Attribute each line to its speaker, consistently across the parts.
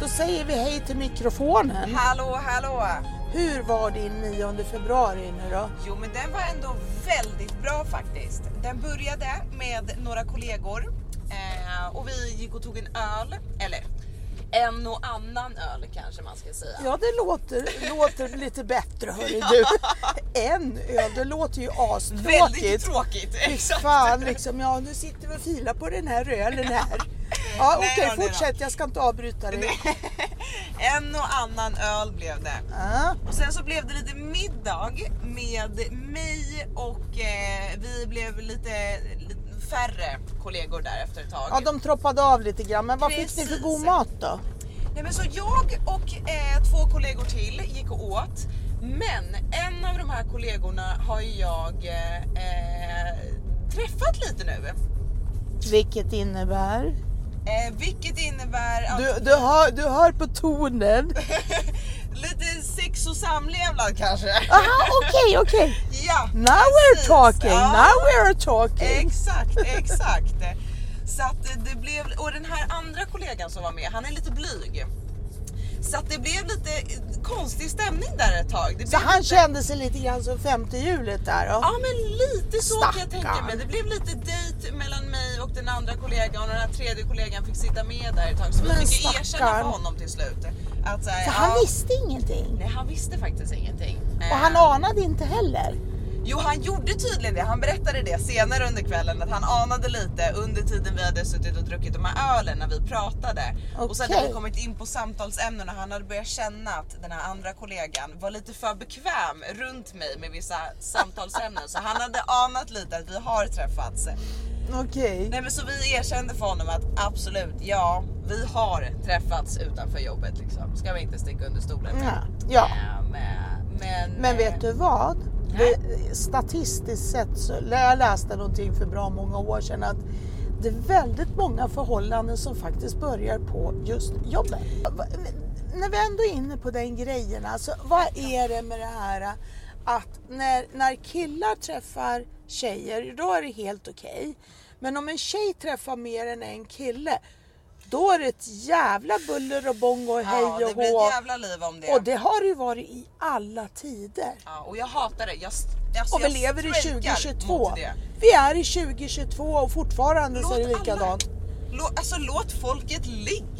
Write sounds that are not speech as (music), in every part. Speaker 1: Då säger vi hej till mikrofonen.
Speaker 2: Hallå, hallå!
Speaker 1: Hur var din 9 februari nu då?
Speaker 2: Jo, men den var ändå väldigt bra faktiskt. Den började med några kollegor eh, och vi gick och tog en öl, eller en och annan öl kanske man ska säga.
Speaker 1: Ja, det låter, låter lite bättre hörru du. En öl, det låter ju
Speaker 2: väldigt
Speaker 1: astråkigt.
Speaker 2: tråkigt.
Speaker 1: Fy
Speaker 2: Exakt.
Speaker 1: fan liksom, ja nu sitter vi och filar på den här ölen här. Ja
Speaker 2: Nej
Speaker 1: okej,
Speaker 2: då, nej då.
Speaker 1: fortsätt, jag ska inte avbryta dig.
Speaker 2: (laughs) En och annan öl blev det.
Speaker 1: Ja.
Speaker 2: Och sen så blev det lite middag med mig och eh, vi blev lite, lite färre kollegor där efter ett tag.
Speaker 1: Ja, de troppade av lite grann, men vad fick ni för
Speaker 2: Precis.
Speaker 1: god mat då?
Speaker 2: Nej, men så jag och eh, två kollegor till gick och åt. Men en av de här kollegorna har ju jag eh, eh, träffat lite nu.
Speaker 1: Vilket innebär?
Speaker 2: Eh, vilket innebär att
Speaker 1: Du, du, hör, du hör på tonen.
Speaker 2: (laughs) lite sex och samlevnad kanske.
Speaker 1: Aha, okej, okej.
Speaker 2: ja,
Speaker 1: Now we're
Speaker 2: precis.
Speaker 1: talking,
Speaker 2: Ja.
Speaker 1: now we're talking.
Speaker 2: Exakt, exakt. Så att det blev, och den här andra kollegan som var med, han är lite blyg. Så att det blev lite konstig stämning där ett tag. Det
Speaker 1: Så
Speaker 2: blev
Speaker 1: han
Speaker 2: lite,
Speaker 1: kände sig lite grann som femte hjulet där då?
Speaker 2: Ja men lite så kan jag tänka mig.
Speaker 1: Stackarn.
Speaker 2: Det blev lite dejt mellan mig och den andra kollegan och den här tredje kollegan fick sitta med där ett tag. Så vi
Speaker 1: Men
Speaker 2: fick ju erkänna
Speaker 1: stackarn.
Speaker 2: för honom till slut. Att, så här,
Speaker 1: Så han
Speaker 2: ja,
Speaker 1: visste ingenting?
Speaker 2: Nej han visste faktiskt ingenting. Eh,
Speaker 1: Och han anade inte heller?
Speaker 2: Jo, han gjorde tydligen det. Han berättade det senare under kvällen att han anade lite under tiden vi hade suttit och druckit de här ölen när vi pratade. Och sen hade
Speaker 1: Okej.
Speaker 2: vi kommit in på samtalsämnen och han hade börjat känna att den här andra kollegan var lite för bekväm runt mig med vissa samtalsämnen. Så han hade anat lite att vi har träffats.
Speaker 1: Okej.
Speaker 2: Nej, men så vi erkände för honom att absolut, ja, vi har träffats utanför jobbet liksom. Ska vi inte sticka under stolen med.
Speaker 1: Ja. ja.
Speaker 2: Ehm, Men,
Speaker 1: Men vet du vad?
Speaker 2: Nej.
Speaker 1: Det, statistiskt sett så jag läste någonting för bra många år sedan att det är väldigt många förhållanden som faktiskt börjar på just jobbet. Va- När vi ändå är inne på den grejen, alltså, vad är det med det här att när, när killar träffar tjejer, då är det helt okej. Men om en tjej träffar mer än en kille, då är det ett jävla buller och bång och hej
Speaker 2: Ja,
Speaker 1: och
Speaker 2: det blir
Speaker 1: hå.
Speaker 2: ett jävla liv om det.
Speaker 1: Och det har det ju varit i alla tider.
Speaker 2: Ja, och jag hatar det. Jag, st- alltså,
Speaker 1: Och vi
Speaker 2: jag
Speaker 1: lever i
Speaker 2: strejkar
Speaker 1: 2022.
Speaker 2: mot det.
Speaker 1: Vi är i 2022 och fortfarande så är det likadant.
Speaker 2: Alla, lå, alltså låt folket ligga.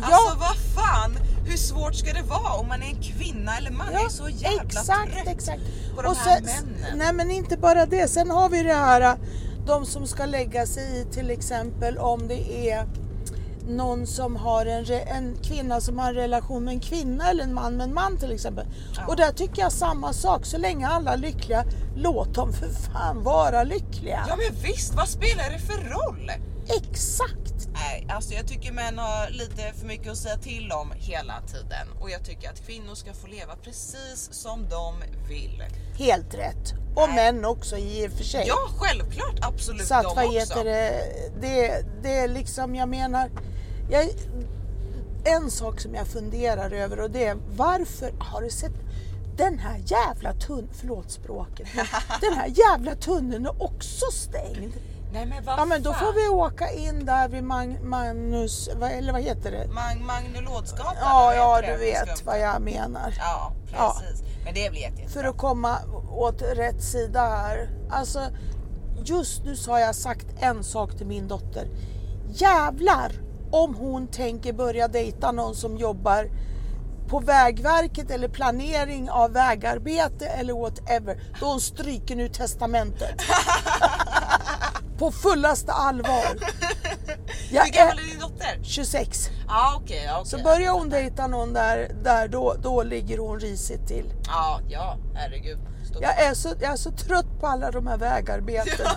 Speaker 1: Ja.
Speaker 2: Alltså vad fan, hur svårt ska det vara om man är en kvinna eller man är så jävla
Speaker 1: exakt,
Speaker 2: trött
Speaker 1: exakt.
Speaker 2: på de
Speaker 1: och
Speaker 2: här
Speaker 1: sen,
Speaker 2: männen.
Speaker 1: nej men inte bara det. Sen har vi det här de som ska lägga sig i till exempel om det är någon som har en, re, en kvinna som har en relation med en kvinna eller en man med en man till exempel.
Speaker 2: Ja.
Speaker 1: Och där tycker jag samma sak. Så länge alla är lyckliga, låt dem för fan vara lyckliga.
Speaker 2: Ja men visst, vad spelar det för roll?
Speaker 1: Exakt!
Speaker 2: Nej, alltså jag tycker män har lite för mycket att säga till om hela tiden och jag tycker att kvinnor ska få leva precis som de vill.
Speaker 1: Helt rätt. Och
Speaker 2: Nej.
Speaker 1: män också i och för sig.
Speaker 2: Ja, självklart, absolut
Speaker 1: så att
Speaker 2: de
Speaker 1: vad
Speaker 2: också.
Speaker 1: heter det? det? Det är liksom, jag menar. Jag, en sak som jag funderar över och det är varför har du sett den här jävla tunneln, förlåt språket,
Speaker 2: (laughs)
Speaker 1: men den här jävla tunneln är också stängd.
Speaker 2: Nej men vad
Speaker 1: Ja men då
Speaker 2: fan.
Speaker 1: får vi åka in där vid Mag- Magnus, vad- eller vad heter det?
Speaker 2: Mang Magnulådsgatan.
Speaker 1: Ja,
Speaker 2: vad
Speaker 1: ja
Speaker 2: heter det?
Speaker 1: du vet vad jag menar.
Speaker 2: Ja,
Speaker 1: Ja.
Speaker 2: precis. Men det blir jätte,
Speaker 1: för att komma åt rätt sida här. Alltså, just nu så har jag sagt en sak till min dotter. Jävlar om hon tänker börja dejta någon som jobbar på Vägverket eller planering av vägarbete eller whatever. Då hon stryker nu testamentet. på fullaste allvar.
Speaker 2: Hur
Speaker 1: Jag
Speaker 2: gammal är
Speaker 1: är
Speaker 2: din dotter?
Speaker 1: 26.
Speaker 2: Ja, okej. ja,
Speaker 1: eh- Så
Speaker 2: okej.
Speaker 1: börjar hon dejta någon där, där då, då ligger hon risigt till.
Speaker 2: Ja, ja, herregud. Stå-
Speaker 1: Jag är, så, jag är så trött på alla de här vägarbetena.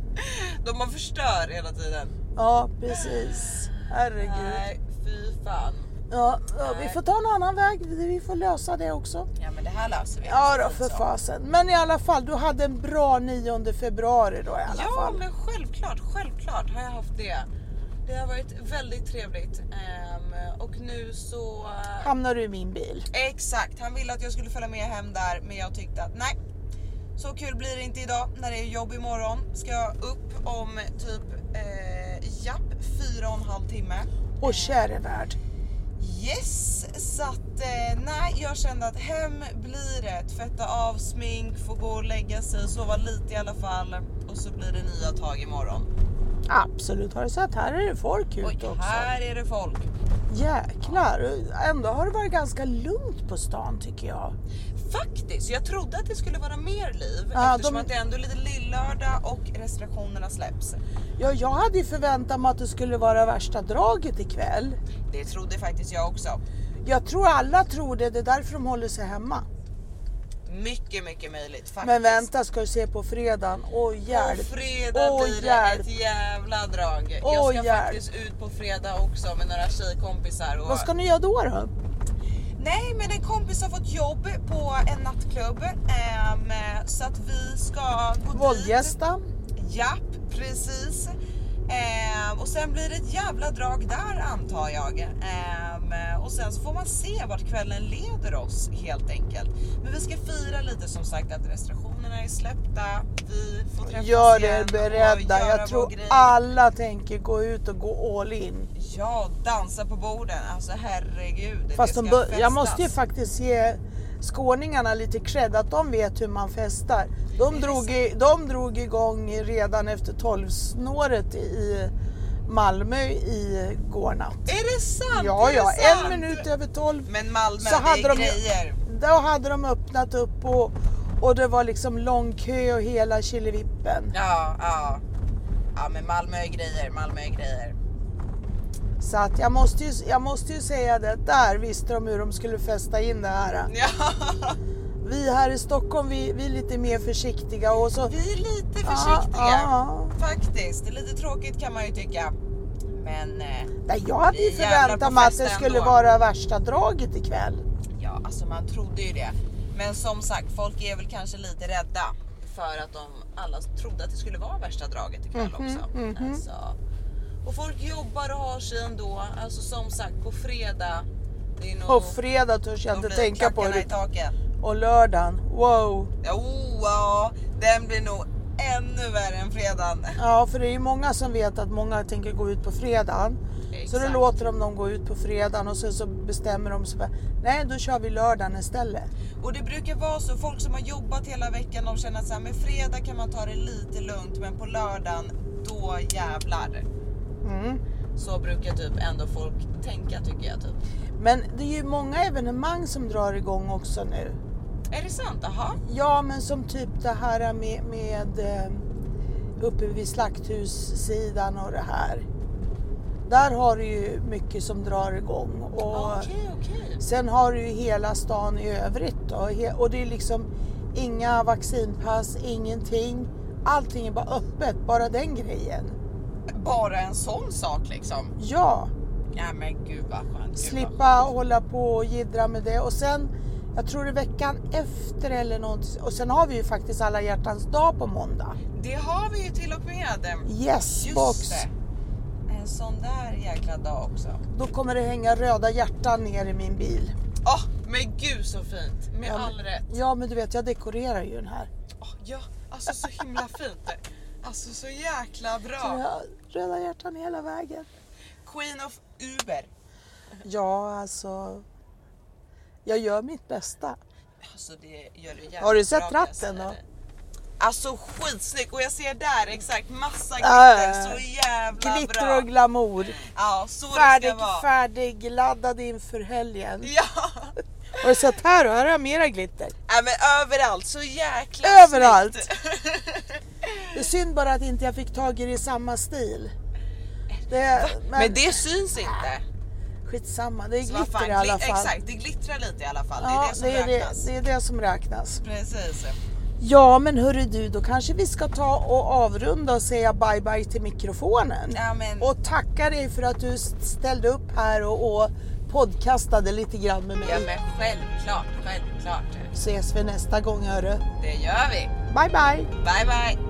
Speaker 2: (laughs) De har förstör hela tiden.
Speaker 1: Ja, precis. Herregud.
Speaker 2: Nej, fy fan.
Speaker 1: Ja, ja, vi
Speaker 2: Nej.
Speaker 1: får ta en annan väg. Vi får lösa det också.
Speaker 2: Ja, men det här löser vi.
Speaker 1: Ja då,
Speaker 2: Alltså.
Speaker 1: för fasen. Men i alla fall, du hade en bra 9 februari då i alla
Speaker 2: Ja,
Speaker 1: fall.
Speaker 2: men självklart, självklart har jag haft det. Det har varit väldigt trevligt Ehm, och nu så...
Speaker 1: Hamnar du i min bil?
Speaker 2: Exakt, han ville att jag skulle följa med hem där men jag tyckte att nej. Så kul blir det inte idag när det är jobb imorgon. Ska jag upp om typ eh, japp fyra och en halv timme.
Speaker 1: Och käre värld.
Speaker 2: Yes, så att eh, nej, jag kände att hem blir det. Tvätta av smink, få gå och lägga sig, sova lite i alla fall och så blir det nya tag imorgon.
Speaker 1: Absolut, har du sett? Här är det folk
Speaker 2: Och
Speaker 1: ute också.
Speaker 2: här är det folk.
Speaker 1: Jäklar, ändå har det varit ganska lugnt på stan tycker jag.
Speaker 2: Faktiskt, jag trodde att det skulle vara mer liv
Speaker 1: Ja,
Speaker 2: eftersom
Speaker 1: de-
Speaker 2: att det är ändå är lite lillördag och restriktionerna släpps.
Speaker 1: Ja, jag hade ju förväntat mig att det skulle vara värsta draget ikväll.
Speaker 2: Det trodde faktiskt jag också.
Speaker 1: Jag tror alla tror det, det är därför de håller sig hemma.
Speaker 2: Mycket, mycket möjligt faktiskt.
Speaker 1: Men vänta ska du se på fredagen. Åh
Speaker 2: På
Speaker 1: hjälp.
Speaker 2: fredag
Speaker 1: Åh,
Speaker 2: blir det
Speaker 1: hjälp.
Speaker 2: ett jävla drag.
Speaker 1: Åh,
Speaker 2: jag ska
Speaker 1: hjälp.
Speaker 2: faktiskt ut på fredag också med några tjejkompisar. Och...
Speaker 1: Vad ska ni göra då? då?
Speaker 2: Nej, men en kompis har fått jobb på en nattklubb ehm, så att vi ska gå dit.
Speaker 1: Våldgästa?
Speaker 2: Japp, precis. Ehm, och sen blir det ett jävla drag där antar jag. Ehm, och sen så får man se vart kvällen leder oss helt enkelt. Men vi ska fira lite som sagt att restriktionerna är släppta. Vi får träffas
Speaker 1: Gör
Speaker 2: igen
Speaker 1: er
Speaker 2: och
Speaker 1: beredda.
Speaker 2: göra vår
Speaker 1: Jag tror
Speaker 2: grej.
Speaker 1: alla tänker gå ut och gå all in.
Speaker 2: Ja, dansa på borden. Alltså herregud.
Speaker 1: Fast
Speaker 2: det
Speaker 1: de
Speaker 2: ska
Speaker 1: bör- jag måste ju
Speaker 2: festas.
Speaker 1: faktiskt ge skåningarna lite cred att de vet hur man festar. De drog, i, de drog igång redan efter 12-snåret i Malmö i går natt.
Speaker 2: Är det sant?
Speaker 1: Ja,
Speaker 2: Är det
Speaker 1: ja,
Speaker 2: sant?
Speaker 1: en minut över 12
Speaker 2: Men Malmö,
Speaker 1: så
Speaker 2: det
Speaker 1: hade
Speaker 2: är
Speaker 1: de ju-
Speaker 2: grejer.
Speaker 1: Då hade de öppnat upp och, och det var liksom lång kö och hela Killevippen.
Speaker 2: Ja, ja. Ja, men Malmö är grejer, Malmö är grejer.
Speaker 1: Så att jag måste, ju, jag måste ju säga det, där visste de hur de skulle fästa in det här.
Speaker 2: (laughs) Ja.
Speaker 1: Vi här i Stockholm, vi, vi är lite mer försiktiga och så...
Speaker 2: Vi är lite
Speaker 1: Ja,
Speaker 2: försiktiga.
Speaker 1: ja.
Speaker 2: Faktiskt, det är lite tråkigt kan man ju tycka. Men eh,
Speaker 1: Nej, jag hade ju
Speaker 2: Vi jävlar
Speaker 1: förväntat
Speaker 2: på
Speaker 1: mig att det
Speaker 2: festen
Speaker 1: skulle
Speaker 2: ändå.
Speaker 1: vara värsta draget ikväll.
Speaker 2: ja, alltså man trodde ju det. Men som sagt, folk är väl kanske lite rädda för att de alla trodde att det skulle vara värsta draget ikväll
Speaker 1: Mhm,
Speaker 2: också. Alltså, och folk jobbar och har sig ändå. Alltså som sagt, på fredag. Det är nog...
Speaker 1: På fredag törs jag
Speaker 2: då
Speaker 1: inte
Speaker 2: blir
Speaker 1: tänka på
Speaker 2: klackarna
Speaker 1: det.
Speaker 2: i taket.
Speaker 1: Och lördagen, wow.
Speaker 2: Ja, Oh, ja, den blir nog ännu värre än fredagen.
Speaker 1: Ja, för det är ju många som vet att många tänker gå ut på fredagen. Så då
Speaker 2: Exakt.
Speaker 1: låter de dem gå ut på fredagen och sen så bestämmer de sig för nej, då kör vi lördagen istället.
Speaker 2: Och det brukar vara så, folk som har jobbat hela veckan de känner att så här, med fredag kan man ta det lite lugnt men på lördagen, då jävlar.
Speaker 1: Mm.
Speaker 2: Så brukar typ ändå folk tänka tycker jag typ.
Speaker 1: Men det är ju många evenemang som drar igång också nu.
Speaker 2: Är det sant? Jaha.
Speaker 1: Ja, men som typ det här med, med eh, uppe vid slakthussidan och det här. Där har du ju mycket som drar igång. Och
Speaker 2: Okej, okej.
Speaker 1: Sen har du ju hela stan i övrigt då, He- och det är liksom inga vaccinpass, ingenting. Allting är bara öppet, bara den grejen.
Speaker 2: Bara en sån sak liksom.
Speaker 1: Ja,
Speaker 2: Ja men gud vad skönt. gud vad
Speaker 1: slippa hålla på och jiddra med det. Och sen, jag tror det är veckan efter eller någonting. Och sen har vi ju faktiskt alla hjärtans dag på måndag.
Speaker 2: skönt. Det har vi ju till och med.
Speaker 1: Yes,
Speaker 2: Just
Speaker 1: box.
Speaker 2: det. En sån där jäkla dag också.
Speaker 1: Då kommer det hänga röda hjärtan ner i min bil.
Speaker 2: Åh, men gud så fint. Med
Speaker 1: Ja, men-
Speaker 2: all rätt.
Speaker 1: Ja, men du vet, jag dekorerar ju den här.
Speaker 2: Åh, ja, alltså så himla fint. Alltså så jäkla
Speaker 1: Så jag
Speaker 2: bra.
Speaker 1: har röda hjärtan hela vägen.
Speaker 2: Queen of Uber.
Speaker 1: Ja, alltså. Jag gör mitt bästa.
Speaker 2: Alltså det gör du jävligt
Speaker 1: Har du sett
Speaker 2: bra, kan jag
Speaker 1: ratten
Speaker 2: säga
Speaker 1: då?
Speaker 2: dig. Alltså skitsnygg och jag ser där exakt massa
Speaker 1: Äh,
Speaker 2: glitter. så jävla
Speaker 1: Glitter
Speaker 2: bra.
Speaker 1: och glamour.
Speaker 2: Ja, så det
Speaker 1: Färdig,
Speaker 2: ska vara.
Speaker 1: färdigladdad inför helgen.
Speaker 2: Ja,
Speaker 1: Har du sett här då? Här har jag mera glitter.
Speaker 2: äh, men överallt. Så jäkla
Speaker 1: Överallt.
Speaker 2: snyggt.
Speaker 1: (laughs) Det är synd bara att inte jag fick tag i det i samma stil. Det,
Speaker 2: Men det syns inte.
Speaker 1: Skitsamma, det är
Speaker 2: Så vad fan,
Speaker 1: glitter i alla
Speaker 2: gli-
Speaker 1: fall.
Speaker 2: Exakt, det glittrar lite i alla fall. det är
Speaker 1: Ja,
Speaker 2: det som
Speaker 1: det är det,
Speaker 2: räknas.
Speaker 1: det är det som räknas.
Speaker 2: Precis.
Speaker 1: Ja, men hörru du, då kanske vi ska ta och avrunda och säga bye bye till mikrofonen.
Speaker 2: Ja, men,
Speaker 1: Och tacka dig för att du ställde upp här och, och podcastade lite grann med mig.
Speaker 2: ja, men självklart, självklart.
Speaker 1: Ses vi nästa gång hörru.
Speaker 2: Det gör vi.
Speaker 1: Bye bye!
Speaker 2: Bye bye!